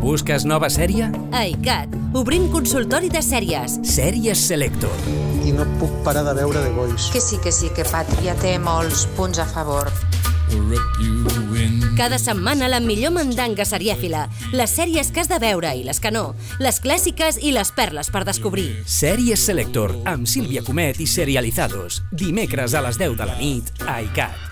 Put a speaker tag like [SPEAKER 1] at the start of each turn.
[SPEAKER 1] Busques nova sèrie?
[SPEAKER 2] AICAT. Obrim consultori de sèries.
[SPEAKER 1] Sèries Selector.
[SPEAKER 3] i no puc parar de veure The Voice.
[SPEAKER 4] Que sí, que sí, que Pàtria té molts punts a favor.
[SPEAKER 2] Cada setmana la millor mandanga serièfila. Les sèries que has de veure i les que no. Les clàssiques i les perles per descobrir.
[SPEAKER 1] Sèries Selector, amb Sílvia Comet i Serializados. Dimecres a les 10 de la nit a ICAT.